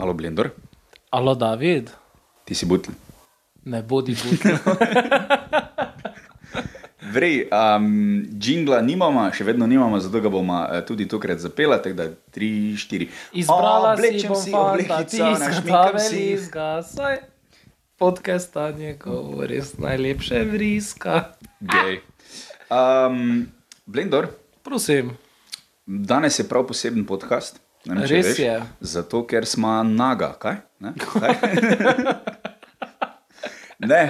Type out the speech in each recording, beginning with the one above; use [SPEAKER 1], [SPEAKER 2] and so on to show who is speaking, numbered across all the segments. [SPEAKER 1] Alo, Blender,
[SPEAKER 2] Alo, David,
[SPEAKER 1] ti si butl.
[SPEAKER 2] ne bodi gudni.
[SPEAKER 1] Vrej, um, džingla nimamo, še vedno nimamo, zato ga bomo eh, tudi tokrat zapela, tako da 3, 4.
[SPEAKER 2] Izbrala si
[SPEAKER 1] Oblečem
[SPEAKER 2] bom fanta, ti
[SPEAKER 1] oblekico, našminkam
[SPEAKER 2] izkataveli,
[SPEAKER 1] si.
[SPEAKER 2] zgasaj. Podcast stanje, ko res najlepše vriska.
[SPEAKER 1] Gej. Um, Blender,
[SPEAKER 2] Prosim,
[SPEAKER 1] danes je prav poseben podcast. Ne vem, če
[SPEAKER 2] Res
[SPEAKER 1] veš,
[SPEAKER 2] je.
[SPEAKER 1] Zato, ker smo naga, kaj? Ne, kaj? ne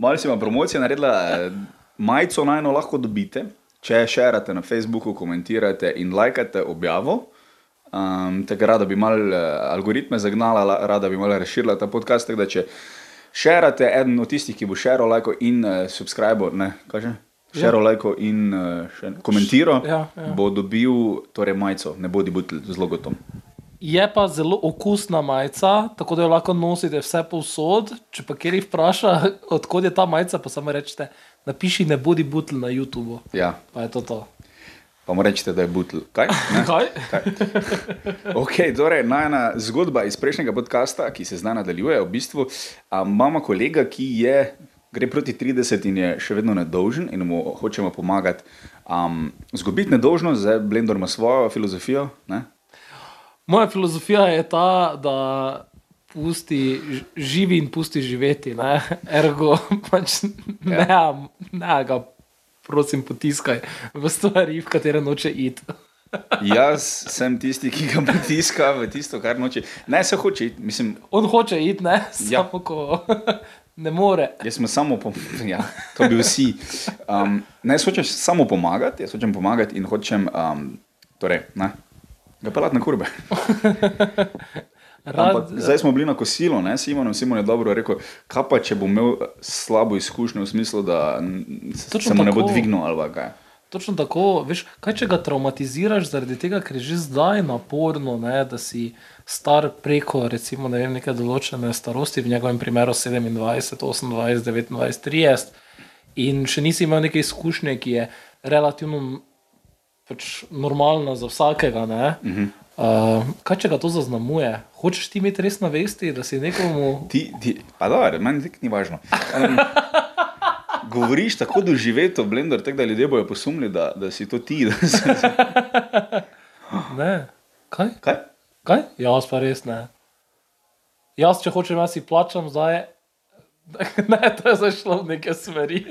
[SPEAKER 1] malo si ima promocija naredila, eh, majico najno lahko dobite, če šerate na Facebooku, komentirate in lajkate objavo. Um, tako rada bi malo eh, algoritme zagnala, la- rada bi malo razširila ta podcast. Tako da, če šerate, eden od tistih, ki bo šeral, lajko in uh, subscribe, ne, kaže. Šero, lajko in uh, še komentiral,
[SPEAKER 2] Ja, ja.
[SPEAKER 1] bo dobil torej majico, ne bodi butl z logotom.
[SPEAKER 2] je pa zelo okusna majica, tako da jo lahko nosite vse povsod. Če pa kjer jih vpraša, odkud je ta majica, pa samo rečete, napiši ne bodi butl na YouTubu.
[SPEAKER 1] Ja,
[SPEAKER 2] Pa je to to.
[SPEAKER 1] pa mu rečete, da je butl. Kaj? Ne?
[SPEAKER 2] Kaj?
[SPEAKER 1] Kaj? Okay, torej, najna zgodba iz prejšnjega podcasta, ki se zdaj nadaljuje, v bistvu a, imamo kolega, ki je, gre proti 30 in je še vedno nedolžen in mu hočemo pomagati. Um, zgubiti nedolžnost, zdaj Blender ima svojo filozofijo. Ne?
[SPEAKER 2] Moja filozofija je ta, da pusti ž- živi in pusti živeti, ne? ergo pač ne, ne ga, prosim, potiskaj v stvari, v katere noče iti.
[SPEAKER 1] Jaz sem tisti, ki ga pritiska v tisto, kar noče. Ne, se hoče, iti, mislim,
[SPEAKER 2] On hoče iti, ne,
[SPEAKER 1] Ja.
[SPEAKER 2] samo ko ne more.
[SPEAKER 1] Jaz sem samo pomagati, ja, to bi vsi. Um, ne, jaz hočem samo pomagati, jaz hočem pomagati in hočem, um, torej, ne, ga pelati na kurbe. Ampak,
[SPEAKER 2] Rad,
[SPEAKER 1] zdaj smo bili na kosilu, ne, Simon, Simon je dobro rekel, kaj pa če bo imel slabo izkušnjo v smislu, da mm, se,
[SPEAKER 2] Točno
[SPEAKER 1] se mu ne bo
[SPEAKER 2] tako.
[SPEAKER 1] dvignil ali pa kaj.
[SPEAKER 2] Točno tako, veš, kaj če ga traumatiziraš zaradi tega, ker je že zdaj naporno, ne, da si star preko recimo, ne vem, neke določene starosti, v njegovem primeru 27, 28, 29, 30 in še nisi imel neke izkušnje, ki je relativno pač, normalna za vsakega. Uh -huh. uh, kaj če ga to zaznamuje? Hočeš ti imeti res na vesti, da si nekomu.
[SPEAKER 1] Ti, ti, pa dobro, meni tek ni važno. Um, govoriš tako doživeto, blender, tako da ljudje bojo posumili, da, da si to ti. Da si,
[SPEAKER 2] Ne. Kaj?
[SPEAKER 1] kaj?
[SPEAKER 2] Kaj? Jaz pa res ne. Jaz, če hočem, jaz si plačam zdaj. Ne, to je zašlo v neke smeri.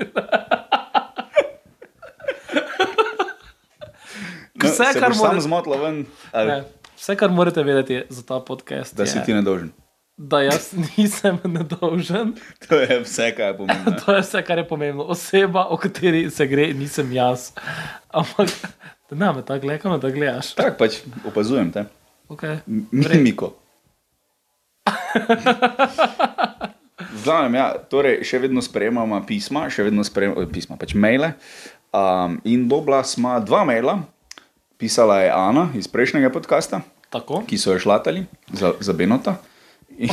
[SPEAKER 1] No,
[SPEAKER 2] Vse,
[SPEAKER 1] se
[SPEAKER 2] kar Ja.
[SPEAKER 1] boš
[SPEAKER 2] more-
[SPEAKER 1] sam zmotla ven, ali,
[SPEAKER 2] Ne, vse, kar morate vedeti za ta podcast,
[SPEAKER 1] da si ti
[SPEAKER 2] je,
[SPEAKER 1] nedolžen.
[SPEAKER 2] da jaz nisem nedolžen.
[SPEAKER 1] To je vse, kar je pomembno.
[SPEAKER 2] To je vse, kar je pomembno. Oseba, o kateri se gre, nisem jaz. Ampak ne, me tako gledaš, me tako gledaš.
[SPEAKER 1] Tako pač opazujem te.
[SPEAKER 2] Okay.
[SPEAKER 1] Mimiko. Znam, ja, torej še vedno sprejemamo pisma, še vedno sprejemamo eh, pisma, pač maile. Um, in dobila smo dva maila, pisala je Ana iz prejšnjega podcasta,
[SPEAKER 2] Tako?
[SPEAKER 1] ki so jo šlatali za, za Benota. In,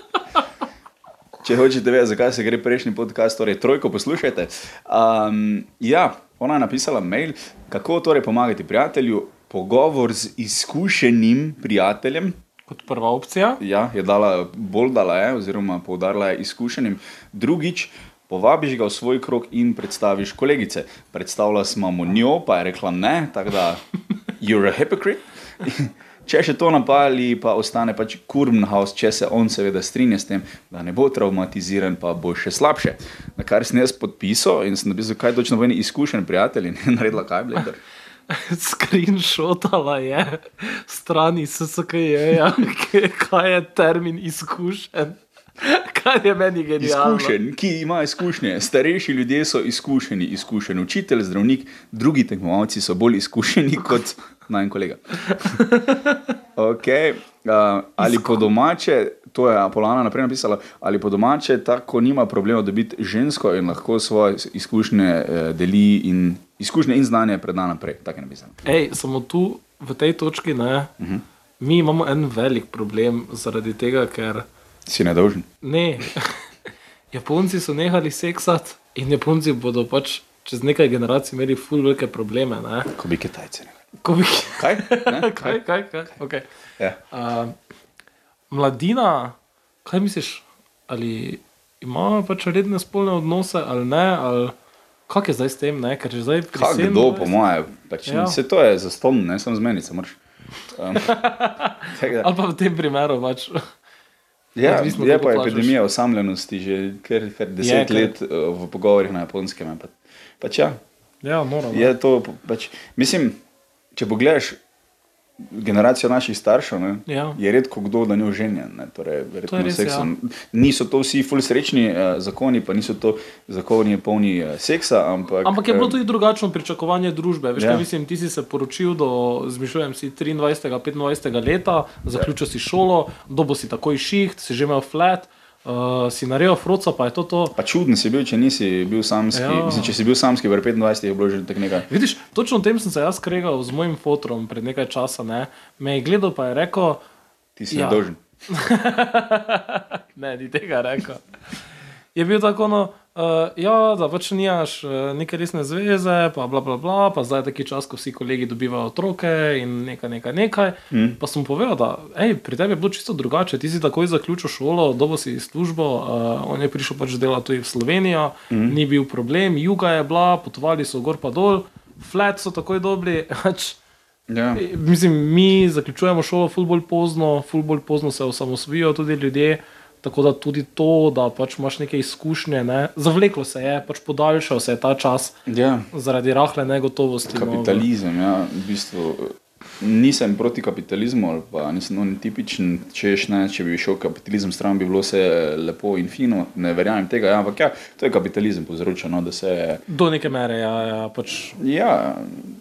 [SPEAKER 1] če hočete vedeti, zakaj se gre prejšnji podcast, torej trojko poslušajte. Um, ja, ona je napisala mail, kako torej pomagati prijatelju. Pogovor z izkušenim prijateljem,
[SPEAKER 2] Kot prva opcija.
[SPEAKER 1] ja, je dala, bolj dala je, oziroma poudarila je izkušenim. Drugič, povabiš ga v svoj krog in predstaviš kolegice. Predstavila smo mu njo, pa je rekla ne, tako da you're a hypocrite. Če še to napali, pa ostane pač Kurmhaus, če se on seveda strinja s tem, da ne bo traumatiziran, pa bo še slabše. Na kar sem jaz podpisal in sem napisal, kaj točno pomeni izkušen prijatelj in je naredila kaj, blender.
[SPEAKER 2] Screenshotala je stran iz SKJ-ja, ki- ja. kaj je termin izkušen, kar je meni genialno.
[SPEAKER 1] Izkušen, ki ima izkušnje. Starejši ljudje so izkušeni, izkušen učitelj, zdravnik, drugi tekmovalci so bolj izkušeni kot najmanj kolega. Okay. Uh, ali po domače, to je Apolana naprej napisala, ali po domače, tako nima problema dobiti žensko in lahko svoje izkušnje eh, deli in izkušnje in znanje preda naprej. Tako je napisano.
[SPEAKER 2] Ej, samo tu, v tej točki, ne, uh -huh. mi imamo en velik problem zaradi tega, ker
[SPEAKER 1] Si nedolžen.
[SPEAKER 2] ne, Japonci so nehali seksati in Japonci bodo pač čez nekaj generacij imeli ful velike probleme. Ne.
[SPEAKER 1] Ko bi Kitajci. rekli.
[SPEAKER 2] Ko bi...
[SPEAKER 1] Kaj? Ne?
[SPEAKER 2] kaj, kaj, kaj? Okay.
[SPEAKER 1] Ja.
[SPEAKER 2] Uh, mladina, kaj misliš, ali ima pač redne spolne odnose ali ne, ali kak je zdaj s tem, ne? ker že zdaj pri
[SPEAKER 1] Kaj kdo, po
[SPEAKER 2] 27
[SPEAKER 1] moje, pač,
[SPEAKER 2] Ja.
[SPEAKER 1] ja. se to je za ston, ne sem zmenica, moraš. Um, tako da-
[SPEAKER 2] Ali pa v tem primeru pač.
[SPEAKER 1] Ja,
[SPEAKER 2] Odvisno,
[SPEAKER 1] je
[SPEAKER 2] koliko
[SPEAKER 1] pa
[SPEAKER 2] plačaš.
[SPEAKER 1] epidemija osamljenosti že kar, kar deset
[SPEAKER 2] kar-
[SPEAKER 1] je, let eh, v pogovorih na japonskem. je Pa, pač ja,
[SPEAKER 2] Ja, moram.
[SPEAKER 1] je to, po- pač, mislim, če pogledaš generacijo naših staršev, ne,
[SPEAKER 2] Ja.
[SPEAKER 1] je redko kdo, da ni oženjen. Ne, torej, verjetno
[SPEAKER 2] res, ja.
[SPEAKER 1] seksom. Niso to vsi ful srečni eh, zakoni, pa niso to zakoni polni eh, seksa, ampak,
[SPEAKER 2] Ampak je bilo
[SPEAKER 1] eh,
[SPEAKER 2] tudi drugačno pričakovanje družbe. Veš,
[SPEAKER 1] Ja.
[SPEAKER 2] ja. mislim, ti si se poročil do, zmišljujem si, 23, 25 leta, zaključil si šolo, dobo si takoj šiht, si že imel flat, uh, si naredil froca, pa je to to.
[SPEAKER 1] Pa čuden si bil, če nisi bil samski.
[SPEAKER 2] Ja.
[SPEAKER 1] Ja. Mislim, če si bil samski, pri 25 je bilo že tako nekaj.
[SPEAKER 2] Vidiš, točno o tem sem se jaz kregal z mojim fotrom pred nekaj časa. Ne? Me je gledal pa je rekel,
[SPEAKER 1] Ti si
[SPEAKER 2] Ja.
[SPEAKER 1] ja. dolžen.
[SPEAKER 2] ne, ni tega rekel. Je bil tako, no, uh, ja, da pač nimaš uh, neke resne zveze, pa bla bla bla, pa zdaj je taki čas, ko vsi kolegi dobivajo otroke in nekaj, nekaj, nekaj. Mm. Pa sem povedal, da ej, pri tebi je bilo čisto drugače, ti si takoj zaključil šolo, dobo si službo, uh, on je prišel pač delati tudi v Slovenijo, mm. ni bil problem, juga je bila, potovali so gor pa dol, flat so takoj dobili, pač.
[SPEAKER 1] Ja.
[SPEAKER 2] Mislim, mi zaključujemo šolo fulbol pozno, fulbol pozno se osamosvojijo tudi ljudje. Tako da tudi to, da pač imaš neke izkušnje, ne? zavleklo se je, pač podaljšal se je ta čas
[SPEAKER 1] Ja.
[SPEAKER 2] zaradi rahle negotovosti. no, v-
[SPEAKER 1] Kapitalizem, ja, v bistvu. Nisem proti kapitalizmu, ali pa nisem on tipičen, češ ne, če bi šel kapitalizem stran, bi bilo vse lepo in fino, ne verjamem tega, ja, ampak ja, to je kapitalizem povzročil, no, da se je
[SPEAKER 2] Do neke mere, ja, ja pač.
[SPEAKER 1] Ja,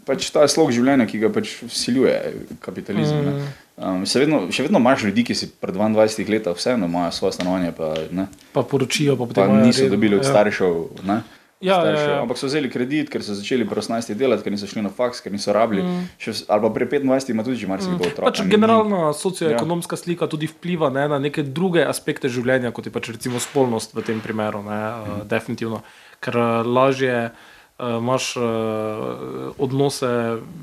[SPEAKER 1] pač ta slog življenja, ki ga pač vsiljuje kapitalizem. Mm. Um, še, vedno, še vedno imaš ljudi, ki si pred 22 leti vseeno imajo svoje stanovanje, pa, ne,
[SPEAKER 2] Pa poročijo, pa
[SPEAKER 1] pa
[SPEAKER 2] potem. imajo
[SPEAKER 1] niso
[SPEAKER 2] redno,
[SPEAKER 1] dobili od
[SPEAKER 2] ja.
[SPEAKER 1] staršev. Ne,
[SPEAKER 2] Ja, ja,
[SPEAKER 1] staršev,
[SPEAKER 2] ja.
[SPEAKER 1] Ampak so vzeli kredit, ker so začeli pri 18 delati, ker niso šli na faks, ker niso rabili. Mm. Še, vs- ali pa pri 25 ima tudi že marsikdo mm. otrok.
[SPEAKER 2] Pač
[SPEAKER 1] ne.
[SPEAKER 2] generalna socioekonomska ja. slika tudi vpliva ne, na neke druge aspekte življenja, kot je pač recimo spolnost v tem primeru, ne, mm.
[SPEAKER 1] Mhm.
[SPEAKER 2] definitivno. Ker eh, lažje eh, imaš eh, odnose,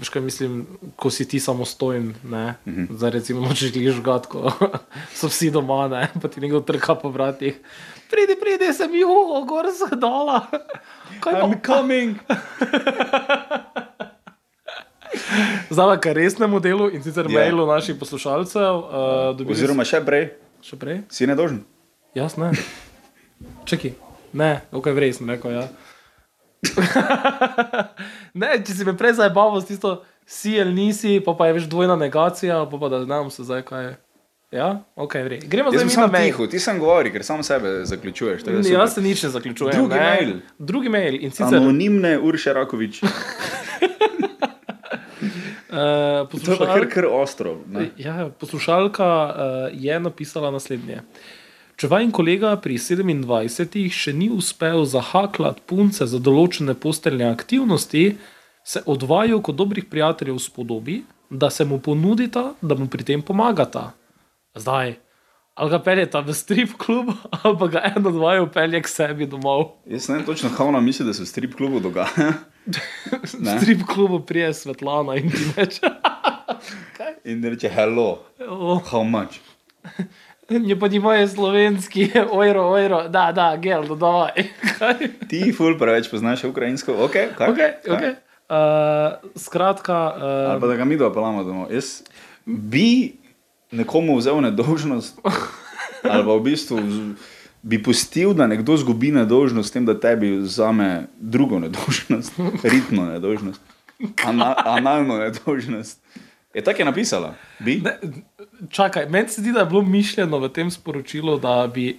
[SPEAKER 2] veš kaj mislim, ko si ti samostojen, ne, mm
[SPEAKER 1] Mhm.
[SPEAKER 2] -hmm. zdaj recimo nočeš gledaš gatko, so vsi doma, ne, pa ti nekdo trka po vratih. Pridi, pridi, sem juho, gor se dala. Kaj pa
[SPEAKER 1] I'm coming!
[SPEAKER 2] Zdaj, kar resnemu delu in sicer yeah.
[SPEAKER 1] Ja.
[SPEAKER 2] mailu naših poslušalcev, uh, dobili smo
[SPEAKER 1] Oziroma še prej,
[SPEAKER 2] še prej.
[SPEAKER 1] si nedožen.
[SPEAKER 2] No, Jaz ne. Čekaj, ne, ok, res sem rekel. Ja. ne, če si me prej zabaval s tisto, si ali nisi, pa, pa je več dvojna negacija, pa, pa da znam se zdaj kaj. je. Ja, ok, res. Gremo
[SPEAKER 1] Jaz
[SPEAKER 2] zdaj
[SPEAKER 1] sem
[SPEAKER 2] mi na
[SPEAKER 1] samo
[SPEAKER 2] mail.
[SPEAKER 1] tiho, ti sem govori, ker sam sebe zaključuješ. tako da super.
[SPEAKER 2] Mm, Jaz se nič ne zaključujem.
[SPEAKER 1] Drugi
[SPEAKER 2] ne.
[SPEAKER 1] mail.
[SPEAKER 2] Drugi mail in sicer.
[SPEAKER 1] Anonimne Urše Rakovič.
[SPEAKER 2] Uh,
[SPEAKER 1] To je pa
[SPEAKER 2] poslušalka,
[SPEAKER 1] kar, kar ostro. Ne?
[SPEAKER 2] Ja, poslušalka uh, je napisala naslednje. Če vajen kolega pri 27 še ni uspel zahaklat punce za določene posteljne aktivnosti, se od vaju kot dobrih prijateljev spodobi, da se mu ponudita, da mu pri tem pomagata. Zdaj, ali ga peljeta v strip klub, ali pa ga eno od vaju pelje k sebi domov.
[SPEAKER 1] Jaz ne vem točno, kaj ona misli, da se v strip klubu dogaja.
[SPEAKER 2] V strip klubu prije Svetlana in ti reče:
[SPEAKER 1] In reče, hello,
[SPEAKER 2] "O,
[SPEAKER 1] how much.
[SPEAKER 2] Не понимаю словенский, ойро, ойро, да, да, гел, ну давай.
[SPEAKER 1] Ti ful preveč poznaš ukrajinsko, ok, kaj?
[SPEAKER 2] Окей,
[SPEAKER 1] Kaj?
[SPEAKER 2] окей. Э, Скратка,
[SPEAKER 1] Ali pa da ga mi dopelamo domov. Jaz bi nekomu vzel nedolžnost, ali pa v bistvu z- bi pustil, da nekdo zgubi nedolžnost, s tem, da tebi vzame drugo nedolžnost, ritno nedolžnost, ana, analno nedolžnost. Je tako je napisala, bi?
[SPEAKER 2] э, čakaj, meni se zdi, da je bilo mišljeno v tem sporočilu, da bi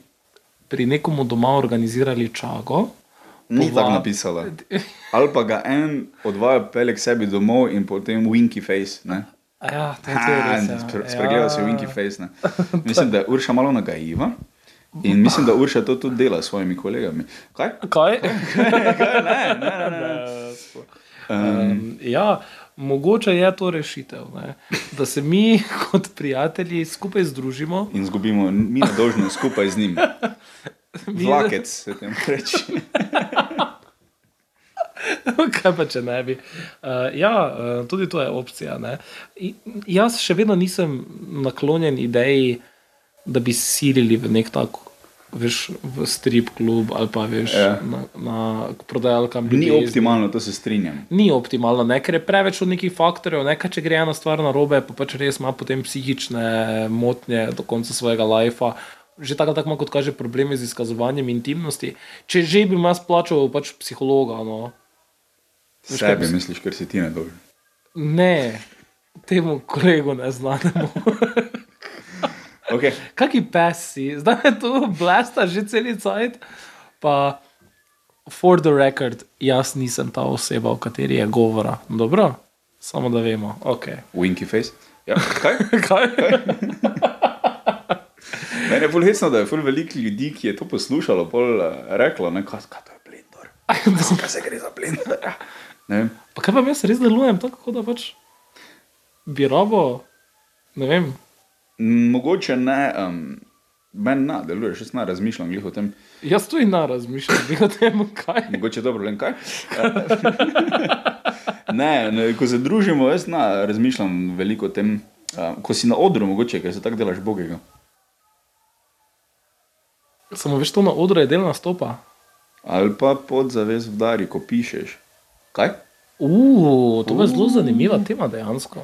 [SPEAKER 2] pri nekomu doma organizirali čago.
[SPEAKER 1] Ni tako
[SPEAKER 2] Pova-
[SPEAKER 1] napisala. Ali pa ga en od vaju pelje k sebi domov in potem winky face. Ne?
[SPEAKER 2] A Ja, to je to je
[SPEAKER 1] Ha,
[SPEAKER 2] res. ja.
[SPEAKER 1] spre- Spregledal si winky face. Ne? Mislim, da je Urša malo nagajiva in mislim, da Urša to tudi dela s svojimi kolegami. Kaj?
[SPEAKER 2] Ja. Kaj?
[SPEAKER 1] Ne, ne, ne. ne.
[SPEAKER 2] Um, ja, mogoče je to rešitev, ne? da se mi kot prijatelji skupaj združimo.
[SPEAKER 1] In zgubimo, mi na dolžni skupaj z njim.
[SPEAKER 2] Mi-
[SPEAKER 1] Vlakec se tem reče.
[SPEAKER 2] Kaj pa če ne bi? Uh, ja, uh, tudi to je opcija. ne. I, jaz še vedno nisem naklonjen ideji, da bi silili v nek tak. Veš, v strip klub ali pa veš,
[SPEAKER 1] Ja.
[SPEAKER 2] yeah. na, na prodajalkam.
[SPEAKER 1] Ni
[SPEAKER 2] ljubezni.
[SPEAKER 1] optimalno, to se strinjam.
[SPEAKER 2] Ni optimalno, ne? ker je preveč od nekih faktorjev. Ne? Kaj, če gre ena stvar na robe, pa pač res ima potem psihične motnje do konca svojega lajfa. Že tako ali tako ima, kot kaže, probleme z izkazovanjem intimnosti. Če že bi jaz plačal pač psihologa, no. Veš, kaj
[SPEAKER 1] Sebe
[SPEAKER 2] bi-
[SPEAKER 1] misliš, ker si ti ne dolžen.
[SPEAKER 2] ne, temu kolegu ne znamo.
[SPEAKER 1] Okay.
[SPEAKER 2] Kaki pes si, zdaj je to blasta že celi cajt. Pa, for the record, jaz nisem ta oseba, o kateri je govora. Dobro, samo da vemo. Okay.
[SPEAKER 1] Winky face. Ja, kaj?
[SPEAKER 2] Kaj?
[SPEAKER 1] Mene je bolj hecno, da je bolj veliko ljudi, ki je to poslušalo, bolj uh, reklo, ne, kaj, kaj to je blender. Kaj se gre za blender? Ne vem.
[SPEAKER 2] Pa kaj pa jaz res delujem tako, kot da pač bi rabo, ne vem.
[SPEAKER 1] M, Mogoče ne, um, meni ne deluje, še ne razmišljam glih o tem.
[SPEAKER 2] Jaz tu in na razmišljam glih o tem, kaj.
[SPEAKER 1] Mogoče je to problem, kaj? ne, ne, ko se družimo, jaz ne razmišljam veliko o tem. Um, ko si na odru, mogoče, ker se tako delaš bogega.
[SPEAKER 2] Samo veš, to na odru je del nastopa.
[SPEAKER 1] Ali pa podzavez vdari, ko pišeš. Kaj?
[SPEAKER 2] Uuu, to je zelo zanimiva tema dejansko.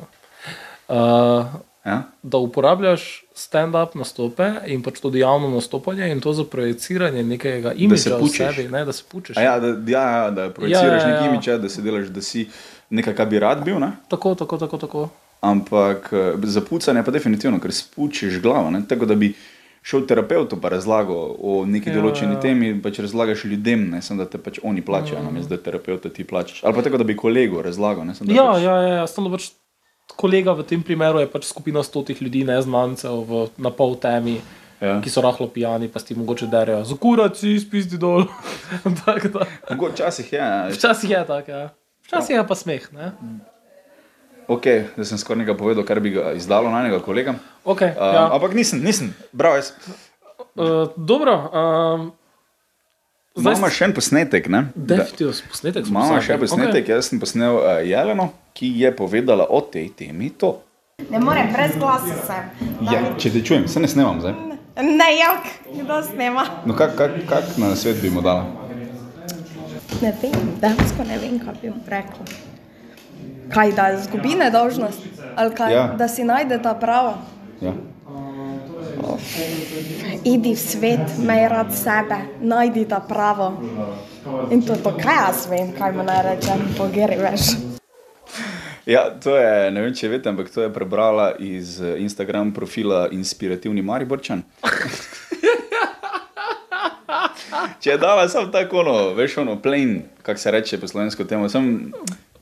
[SPEAKER 2] Uh,
[SPEAKER 1] Ja?
[SPEAKER 2] da uporabljaš stand-up nastope in pač tudi javno nastopanje in to za projiciranje nekega imidža v
[SPEAKER 1] pučiš.
[SPEAKER 2] sebi, ne, da se pučeš.
[SPEAKER 1] A Ja, da, ja, ja, da projiciraš ja, ja,
[SPEAKER 2] Ja, ja,
[SPEAKER 1] ja.
[SPEAKER 2] ja.
[SPEAKER 1] neki imič, ja, da se delaš, da si nekaj, kar bi rad bil. Ne?
[SPEAKER 2] Tako, tako, tako, tako.
[SPEAKER 1] Ampak eh, za pucanje pa definitivno, ker spučiš glavo. Ne? Tako da bi šel terapeutu pa razlagal o neki
[SPEAKER 2] Ja,
[SPEAKER 1] ja, določeni
[SPEAKER 2] ja.
[SPEAKER 1] ja. temi, pač razlagaš ljudem, ne samo da te pač oni plačajo, mm. namesto da terapeuta ti plačaš. Ali pa tako, da bi kolegu razlagal. Ne, samo da
[SPEAKER 2] Ja,
[SPEAKER 1] pač,
[SPEAKER 2] ja, ja, ja samo pač kolega v tem primeru je pač skupina stotih ljudi, neznancev v, na pol temi,
[SPEAKER 1] Ja.
[SPEAKER 2] ki so rahlo pijani, pa si ti mogoče derajo, zakuraci, spisti dol. tak, da.
[SPEAKER 1] Mogoče včasih je. ja.
[SPEAKER 2] Včasih je tako, ja. včasih je pa smeh. Ne?
[SPEAKER 1] Ok, da sem skoraj nekaj povedal, kar bi ga izdalo na enega kolega.
[SPEAKER 2] Okay,
[SPEAKER 1] Um,
[SPEAKER 2] ja.
[SPEAKER 1] ja. Ampak nisem, nisem, bravo jaz.
[SPEAKER 2] uh, dobro, um,
[SPEAKER 1] Zdaj
[SPEAKER 2] Zdaj
[SPEAKER 1] imamo
[SPEAKER 2] s-
[SPEAKER 1] še en posnetek, ne? Da-
[SPEAKER 2] definitivno posnetek. smo
[SPEAKER 1] Imamo
[SPEAKER 2] poslali.
[SPEAKER 1] še posnetek,
[SPEAKER 2] Okej.
[SPEAKER 1] okay. jaz sem posnel uh, Jeleno, ki je povedala o tej temi. To.
[SPEAKER 3] Ne morem, brez glasa sem.
[SPEAKER 1] Ja, če te čujem, se ne snemam zdaj.
[SPEAKER 3] Ne, ja, jak, kdo snema?
[SPEAKER 1] No, kak, kak, kak na svet bi mu dala?
[SPEAKER 3] Ne vem, dejansko ne vem, kaj bi mu rekla. Kaj da izgubi nedožnost, ali kaj,
[SPEAKER 1] Ja.
[SPEAKER 3] ja. da si najde ta prava.
[SPEAKER 1] Ja.
[SPEAKER 3] Idi v svet, imej rad sebe, najdi ta pravo. In to je to, kaj jaz vem, kaj mu naj rečem, pogeri veš.
[SPEAKER 1] ja, to je, ne vem, če veste, ampak to je prebrala iz eh, Instagram profila Inspirativni Mariborčan. če je dala sam tako, no, veš, ono, plain, kako se reče po slovensko temu, sem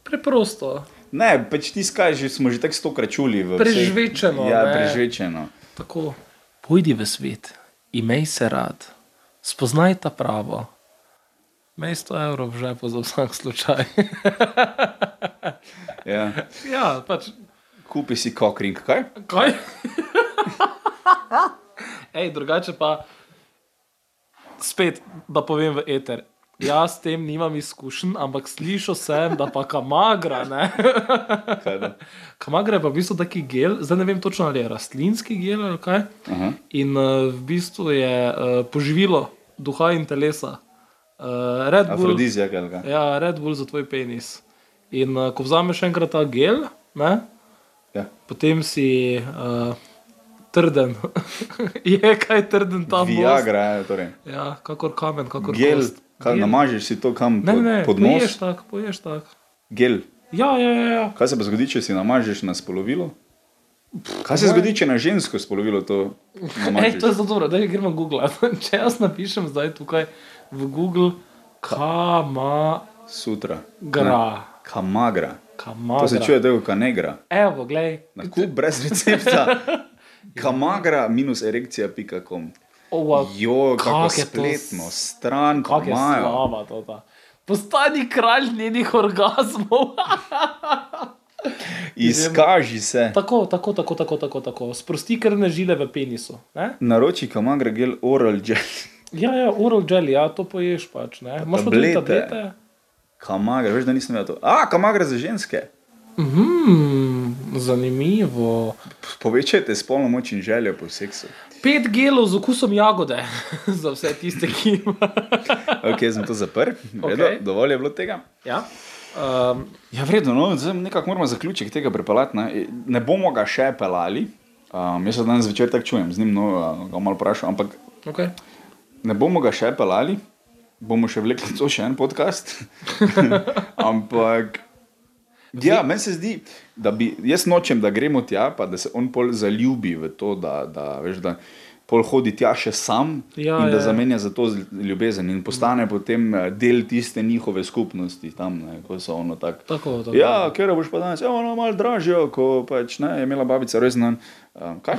[SPEAKER 2] Preprosto.
[SPEAKER 1] Ne, pač ti skaži, smo že tako stokrat čuli. v vseh-
[SPEAKER 2] Prežvečeno,
[SPEAKER 1] Ja,
[SPEAKER 2] ne.
[SPEAKER 1] prežvečeno.
[SPEAKER 2] Tako. Pojdi v svet, imej se rad, spoznaj ta pravo. Mej 100 evrov v žepu za vsak slučaj.
[SPEAKER 1] Ja.
[SPEAKER 2] ja, pač.
[SPEAKER 1] Kupi si kokring, kaj?
[SPEAKER 2] Kaj? Ej, drugače pa, spet, da povem v eter. Jaz s tem nimam izkušenj, ampak slišal sem, da pa kamagra. Ne?
[SPEAKER 1] kaj da?
[SPEAKER 2] Kamagra je pa v bistvu taki gel, zdaj ne vem točno ali je rastlinski gel ali kaj.
[SPEAKER 1] Aha.
[SPEAKER 2] In uh, v bistvu je uh, poživilo duha in telesa. Uh, Red Bull,
[SPEAKER 1] Afrodizijak ali kaj?
[SPEAKER 2] ja, Red Bull za tvoj penis. In uh, ko vzameš enkrat ta gel, ne,
[SPEAKER 1] Ja.
[SPEAKER 2] potem si uh, trden. je kaj trden ta most.
[SPEAKER 1] Viagra, ja, torej.
[SPEAKER 2] Ja, kakor kamen, kakor
[SPEAKER 1] Gel,
[SPEAKER 2] kost.
[SPEAKER 1] kaj,
[SPEAKER 2] Gel.
[SPEAKER 1] namažeš si to kam
[SPEAKER 2] Ne,
[SPEAKER 1] pod,
[SPEAKER 2] ne,
[SPEAKER 1] pod
[SPEAKER 2] poješ
[SPEAKER 1] nos.
[SPEAKER 2] tako, poješ tako.
[SPEAKER 1] Gel.
[SPEAKER 2] Ja, ja, ja, ja.
[SPEAKER 1] Kaj se pa zgodi, če si namažeš na spolovilo? Kaj se zgodi, če na žensko spolovilo to
[SPEAKER 2] Ej,
[SPEAKER 1] namažeš?
[SPEAKER 2] E, to je zelo dobro, da gremo Google. Če jaz napišem zdaj tukaj v Google, kama
[SPEAKER 1] Sutra.
[SPEAKER 2] gra.
[SPEAKER 1] Ne. Kamagra.
[SPEAKER 2] Kamagra.
[SPEAKER 1] To se čuje tako, kanegra.
[SPEAKER 2] Evo, glej.
[SPEAKER 1] Na kup brez recepta. Kamagra minus erekcija.com.
[SPEAKER 2] Ova,
[SPEAKER 1] Jo, kako
[SPEAKER 2] kak je to
[SPEAKER 1] spletno,
[SPEAKER 2] s-
[SPEAKER 1] stran, kako
[SPEAKER 2] Kak oh, je
[SPEAKER 1] imajo.
[SPEAKER 2] slaba to ta. Postani kralj njenih orgasmov.
[SPEAKER 1] Izkaži se.
[SPEAKER 2] tako, tako, tako, tako, tako, tako. Sprosti krvne žile v penisu. Ne?
[SPEAKER 1] Naroči kamagra gel oral gel.
[SPEAKER 2] Ja, ja, oral gel, ja, to poješ pač. Ne? Imaš pa tudi
[SPEAKER 1] tablete.
[SPEAKER 2] tablete.
[SPEAKER 1] Kamagra, veš, da nisem imel to. A, kamagra za ženske.
[SPEAKER 2] Hmm, zanimivo.
[SPEAKER 1] Povečajte spolno moč in željo po seksu.
[SPEAKER 2] Pet gelov z okusom jagode, za vse tiste, ki imajo.
[SPEAKER 1] Ok, sem to zaprl, okay.
[SPEAKER 2] Okej.
[SPEAKER 1] dovolj je bilo tega.
[SPEAKER 2] ja. um,
[SPEAKER 1] Ja, vredno, no, zdaj nekako moramo zaključek tega prepeljati. Ne. ne bomo ga še pelali, um, jaz se danes zvečer tako čujem, z njim no, eh, ga malo vprašam, ampak
[SPEAKER 2] okay.
[SPEAKER 1] ne bomo ga še pelali, bomo še vlekli to še en podcast. ampak. Ja, meni se zdi, da bi, jaz nočem, da gremo tja, pa da se on pol zaljubi v to, da, da, veš, da pol hodi tja še sam
[SPEAKER 2] Ja,
[SPEAKER 1] in da
[SPEAKER 2] ja, ja.
[SPEAKER 1] zamenja za to z- ljubezen in postane potem eh, del tiste njihove skupnosti tam, ne, ko so ono tako.
[SPEAKER 2] Tako, tako.
[SPEAKER 1] Ja, ker boš pa danes, ja, ono malo dražjo, ko pač ne, je imela babica resno. Um, kaj?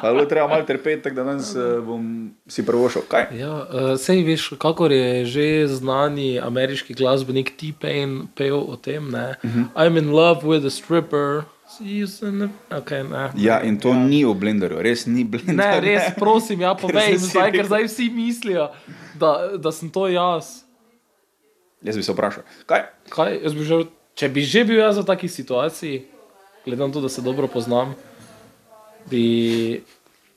[SPEAKER 1] Pa je bilo treba malo trpeti, tako da danes eh, bom si prvošel. Kaj?
[SPEAKER 2] Ja, uh, sej veš, kakor je že znani ameriški glasbenik T-Pain pel o tem, ne? Uh
[SPEAKER 1] Mhm.
[SPEAKER 2] -huh. I'm in love with a stripper. See you in the... Okay, ne.
[SPEAKER 1] Ja, in to ja. ni v blenderju, res ni blender.
[SPEAKER 2] Ne, res, prosim, ja, povej,
[SPEAKER 1] si
[SPEAKER 2] jim
[SPEAKER 1] si
[SPEAKER 2] zdaj, ker
[SPEAKER 1] rekel-
[SPEAKER 2] zdaj vsi mislijo, da, da sem to jaz.
[SPEAKER 1] Jaz bi se vprašal, kaj?
[SPEAKER 2] Kaj, jaz bi že, če bi že bil jaz v taki situaciji, glede na to, da se dobro poznam, bi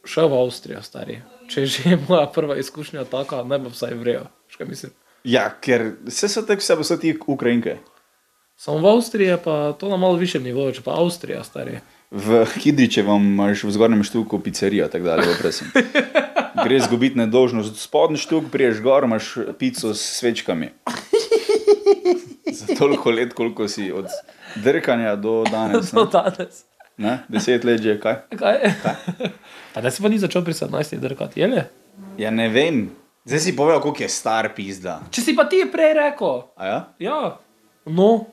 [SPEAKER 2] šel v Avstrijo, stari. Če je že moja prva izkušnja taka, naj bo vsaj vrejo. Veš, kaj mislim?
[SPEAKER 1] Ja, ker vse so tako, vse so ti Ukrajinke.
[SPEAKER 2] Samo v Avstriji je pa to na malo višjem nivoju, če pa Avstrija, stari.
[SPEAKER 1] V Hidričevem imaš v zgornjem štuku pizzerijo, tako da lepo prosim. Gre zgubiti nedožnost, spodnji štuk, priješ gor, imaš pico s svečkami. Za toliko let, koliko si od drkanja do danes.
[SPEAKER 2] Do
[SPEAKER 1] Ne?
[SPEAKER 2] danes.
[SPEAKER 1] Ne? Deset let že kaj.
[SPEAKER 2] Kaj? Pa da se pa ni začel pri 17 drkati, je le?
[SPEAKER 1] Ja, ne vem. Zdaj si povedal, koliko je star pizda.
[SPEAKER 2] Če si pa ti prej rekel,
[SPEAKER 1] A ja?
[SPEAKER 2] ja, no,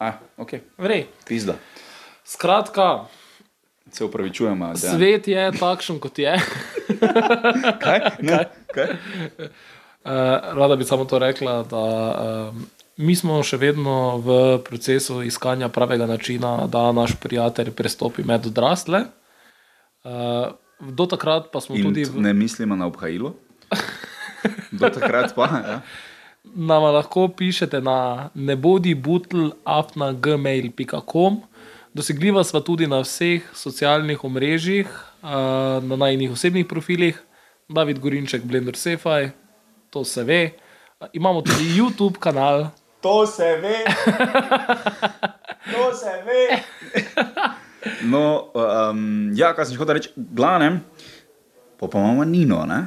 [SPEAKER 1] A, ok,
[SPEAKER 2] vrej.
[SPEAKER 1] pizda.
[SPEAKER 2] Skratka,
[SPEAKER 1] Se upravičujem, da
[SPEAKER 2] ja. svet je takšen, kot je.
[SPEAKER 1] Kaj? Ne? Kaj?
[SPEAKER 2] Eh, rada bi samo to rekla, da um, mi smo še vedno v procesu iskanja pravega načina, da naš prijatelj prestopi med odrasle. Uh, do takrat pa smo
[SPEAKER 1] In
[SPEAKER 2] tudi.
[SPEAKER 1] tudi
[SPEAKER 2] v-
[SPEAKER 1] ne mislimo na obhajilo. Do takrat pa. Ja.
[SPEAKER 2] nam lahko pišete na nebodibutl.gmail.com. Dosegljiva sva tudi na vseh socialnih omrežjih, eh, na najnih osebnih profilih, David Gorinček, Blender Sefaj, to se ve. Eh, Imamo tudi YouTube kanal,
[SPEAKER 1] To se ve. To se ve. No, um, ja, kaj sem še hotel reči, glavnem, pa pa imamo Nino. Ne?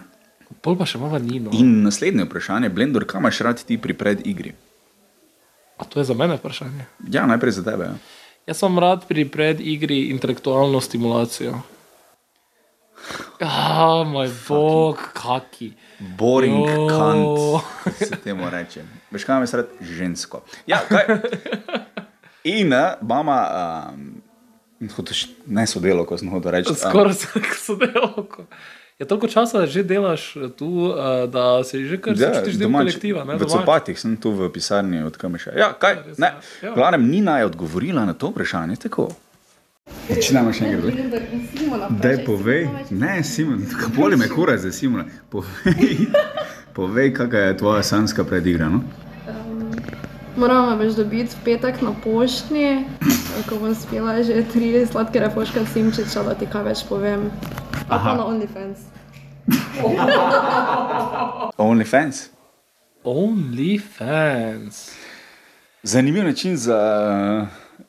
[SPEAKER 2] pol pa še malo Nino.
[SPEAKER 1] In naslednje vprašanje, Blender, kam imaš rad ti pri predigri?
[SPEAKER 2] A to je za mene vprašanje.
[SPEAKER 1] Ja, najprej za tebe. ja.
[SPEAKER 2] Jaz sem rad pri predigri intelektualno stimulacijo. Ah, moj bog, kaki.
[SPEAKER 1] Boring
[SPEAKER 2] Jo.
[SPEAKER 1] kant, kot se temu reče. Veš, kaj imaš rad žensko. Ja, kaj? In eh, mama, um, hočeš, ne sodelo, ko sem hotel reči. em,
[SPEAKER 2] Skoraj vsak sodelovko. Je toliko časa že delaš tu, eh, da si že kar
[SPEAKER 1] Ja,
[SPEAKER 2] začutiš del
[SPEAKER 1] domač-
[SPEAKER 2] kolektiva. Ne,
[SPEAKER 1] v
[SPEAKER 2] domač.
[SPEAKER 1] copatih sem tu v pisarni od Kameša. Ja, kaj?
[SPEAKER 2] Res,
[SPEAKER 1] Ne.
[SPEAKER 2] ja.
[SPEAKER 1] V glavnem, Nina je odgovorila na to vprašanje tako. Začnemo še enkrat. Daj povej, ne, Simon, boli me kura za Simona. Povej, povej kakšna je tvoja sanska predigra. No?
[SPEAKER 4] Moram več dobiti v petek na pošti, ko bom spila že tri sladke refoške simčiča, da ti kaj več povem. A pa na OnlyFans.
[SPEAKER 1] Only fans.
[SPEAKER 2] Only fans.
[SPEAKER 1] Zanimiv način za eh,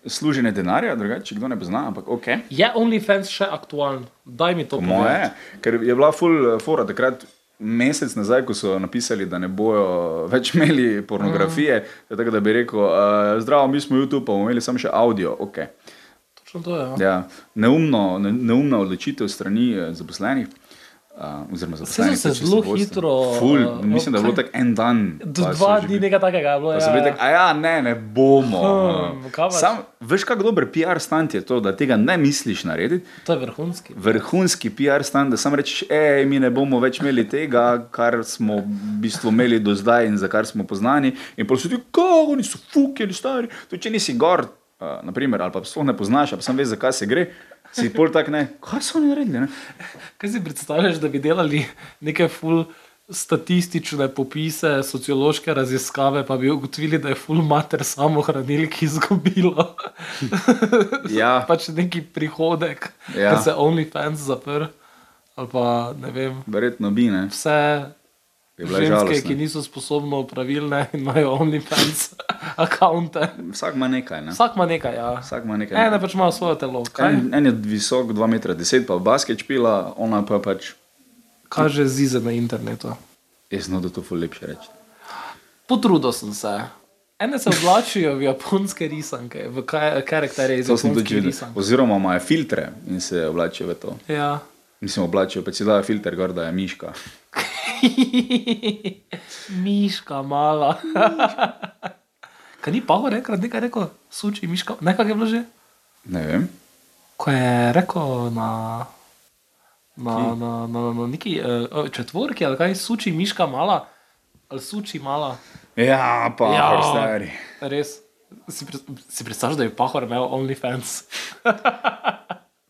[SPEAKER 1] služenje denarja, drugače, če kdo ne pozna, ampak ok.
[SPEAKER 2] Je only fans še aktualen? Daj mi to
[SPEAKER 1] Po moje,
[SPEAKER 2] povedati.
[SPEAKER 1] ker je bila full eh, fora takrat. Mesec nazaj, ko so napisali, da ne bojo več imeli pornografije, mm. tako da bi rekel, uh, zdravo, mi smo YouTube, pa bomo imeli samo še audio. Okay.
[SPEAKER 2] Točno to je. Ja.
[SPEAKER 1] Ja, neumno, ne, neumna odločitev strani eh, zaposlenih. Uh, oziroma,
[SPEAKER 2] Saj so
[SPEAKER 1] zaposlenih
[SPEAKER 2] se
[SPEAKER 1] pač
[SPEAKER 2] zelo
[SPEAKER 1] vodstva.
[SPEAKER 2] hitro,
[SPEAKER 1] Ful,
[SPEAKER 2] eh,
[SPEAKER 1] mislim, da je bilo
[SPEAKER 2] kaj?
[SPEAKER 1] tako en dan.
[SPEAKER 2] Do
[SPEAKER 1] pa so
[SPEAKER 2] dva
[SPEAKER 1] že
[SPEAKER 2] dni
[SPEAKER 1] bili-
[SPEAKER 2] nekaj takega je bilo.
[SPEAKER 1] Pa so bili tako,
[SPEAKER 2] Ja.
[SPEAKER 1] a ja, ne, ne bomo. Eh,
[SPEAKER 2] Hm, kaj pa-
[SPEAKER 1] Sam, veš, kako dober PR stand je to, da tega ne misliš narediti.
[SPEAKER 2] To je vrhunski.
[SPEAKER 1] Vrhunski PR stand, da sam rečeš, e, mi ne bomo več imeli tega, kar smo v bistvu imeli do zdaj in za kar smo poznani. In pa so ti, kako oni so fukeni, stari. Tudi če nisi gor, uh, naprimer, ali pa sploh ne poznaš, ali pa sam veš, zakaj se gre, si pol tak ne. Kaj so oni naredili? Ne?
[SPEAKER 2] Kaj si predstavljaš, da bi delali neke full statistične popise, sociološke raziskave, pa bi ugotovili, da je full mater samohranilki izgubilo
[SPEAKER 1] Ja.
[SPEAKER 2] pač neki prihodek,
[SPEAKER 1] Ja.
[SPEAKER 2] ja. ker se OnlyFans zaprl. ali pa ne vem,
[SPEAKER 1] Verjetno bi, ne?
[SPEAKER 2] vse
[SPEAKER 1] Je bila
[SPEAKER 2] ženske,
[SPEAKER 1] žalostna.
[SPEAKER 2] ki niso sposobno pravilne in imajo OnlyFans akonte.
[SPEAKER 1] Vsak ima nekaj, ne?
[SPEAKER 2] Vsak ima nekaj, ja.
[SPEAKER 1] Ja. Vsak ima nekaj.
[SPEAKER 2] Ene pač imajo svoje telo. Kaj,
[SPEAKER 1] En, en je visok 2,10 m, pa basket pila, ona pa pač.
[SPEAKER 2] kaže zize na internetu.
[SPEAKER 1] Jaz no, da to ful lepše reči.
[SPEAKER 2] Potrudil sem se. Ene se oblačijo v japonske risanke, v kaj- karakterje iz
[SPEAKER 1] To sem
[SPEAKER 2] japonskih
[SPEAKER 1] tudi videl.
[SPEAKER 2] risank.
[SPEAKER 1] Oziroma imajo filtre in se oblačijo v to.
[SPEAKER 2] Ja.
[SPEAKER 1] Mislim, oblačijo, pa si dajo filter, gor da je miška.
[SPEAKER 2] miška mala. Kaj ni Pavo rekel, nekaj je rekel, suči miška, nekaj je bilo že?
[SPEAKER 1] Ne vem.
[SPEAKER 2] Ko je rekel na, na, na, na, na neki uh, četvorki ali kaj, suči miška mala, ali suči mala.
[SPEAKER 1] Ja, pa
[SPEAKER 2] Ja.
[SPEAKER 1] ja. stari.
[SPEAKER 2] Res. Si, pre- si predstavljaš, da je Pahor imel OnlyFans?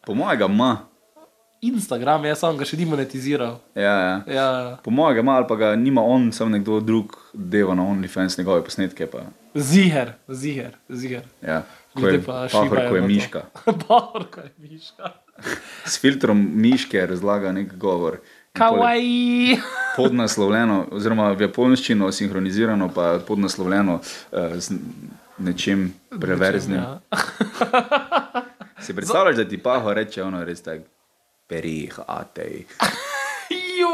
[SPEAKER 1] Po mojega ima.
[SPEAKER 2] Instagram, jaz sam ga še ni monetiziral.
[SPEAKER 1] Ja, ja.
[SPEAKER 2] Ja,
[SPEAKER 1] Po mojega ima, ali pa ga nima on, sem nekdo drug, deva na OnlyFans njegove posnetke. Pa,
[SPEAKER 2] ziger, ziger, ziger.
[SPEAKER 1] ja. Ko
[SPEAKER 2] Ljudje
[SPEAKER 1] je
[SPEAKER 2] pa
[SPEAKER 1] pahor,
[SPEAKER 2] šibajo
[SPEAKER 1] ko je
[SPEAKER 2] na to.
[SPEAKER 1] miška.
[SPEAKER 2] Pahor, ko je miška.
[SPEAKER 1] S filtrom miške razlaga nek govor. In pol je
[SPEAKER 2] Kawaii.
[SPEAKER 1] Torej, podnaslovljeno, oziroma v japonščino sinhronizirano, pa podnaslovljeno eh, z nečim preverznim.
[SPEAKER 2] Ja.
[SPEAKER 1] Si predstavljaš, da ti paho reče ono res tako, perih, atej.
[SPEAKER 2] Jo,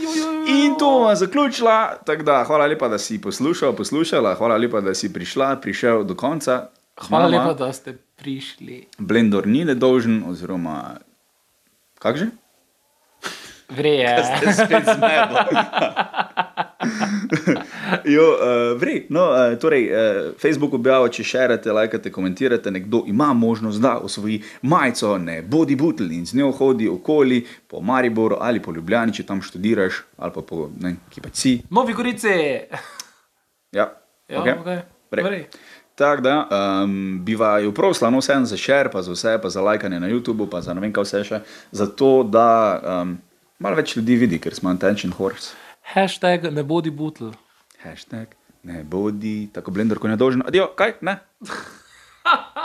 [SPEAKER 2] jo, jo, jo.
[SPEAKER 1] In to bomo zaključila, tako da hvala lepa, da si poslušal, poslušala, hvala lepa, da si prišla, prišel do konca.
[SPEAKER 2] Hvala lepa, da ste prišli.
[SPEAKER 1] Blendor ni nedolžen, oziroma kak že?
[SPEAKER 2] Ja. Vreje.
[SPEAKER 1] Te spet zmedlo. jo, uh, vrej, no, uh, torej, uh, Facebook objavlja, če šerate, lajkate, komentirate, nekdo ima možnost, da osvoji majico, ne bodi butl in z njo hodi okoli po Mariboru ali po Ljubljani, če tam študiraš ali pa po ne, ki pa si.
[SPEAKER 2] Novi Gorici.
[SPEAKER 1] Ja,
[SPEAKER 2] Ja,
[SPEAKER 1] okej.
[SPEAKER 2] okej.
[SPEAKER 1] Vrej.
[SPEAKER 2] Vrej.
[SPEAKER 1] Tako da um, bi vaju prosila, no vseeno za šer, pa za vse, pa za lajkanje na YouTubu, pa za ne vem kaj vse še, zato da um, malo več ljudi vidi, ker smo attention horse.
[SPEAKER 2] Hashtag ne bodi butl.
[SPEAKER 1] Hashtag ne bodi, tako blender, ko je dolžen. Adijo, kaj? Ne.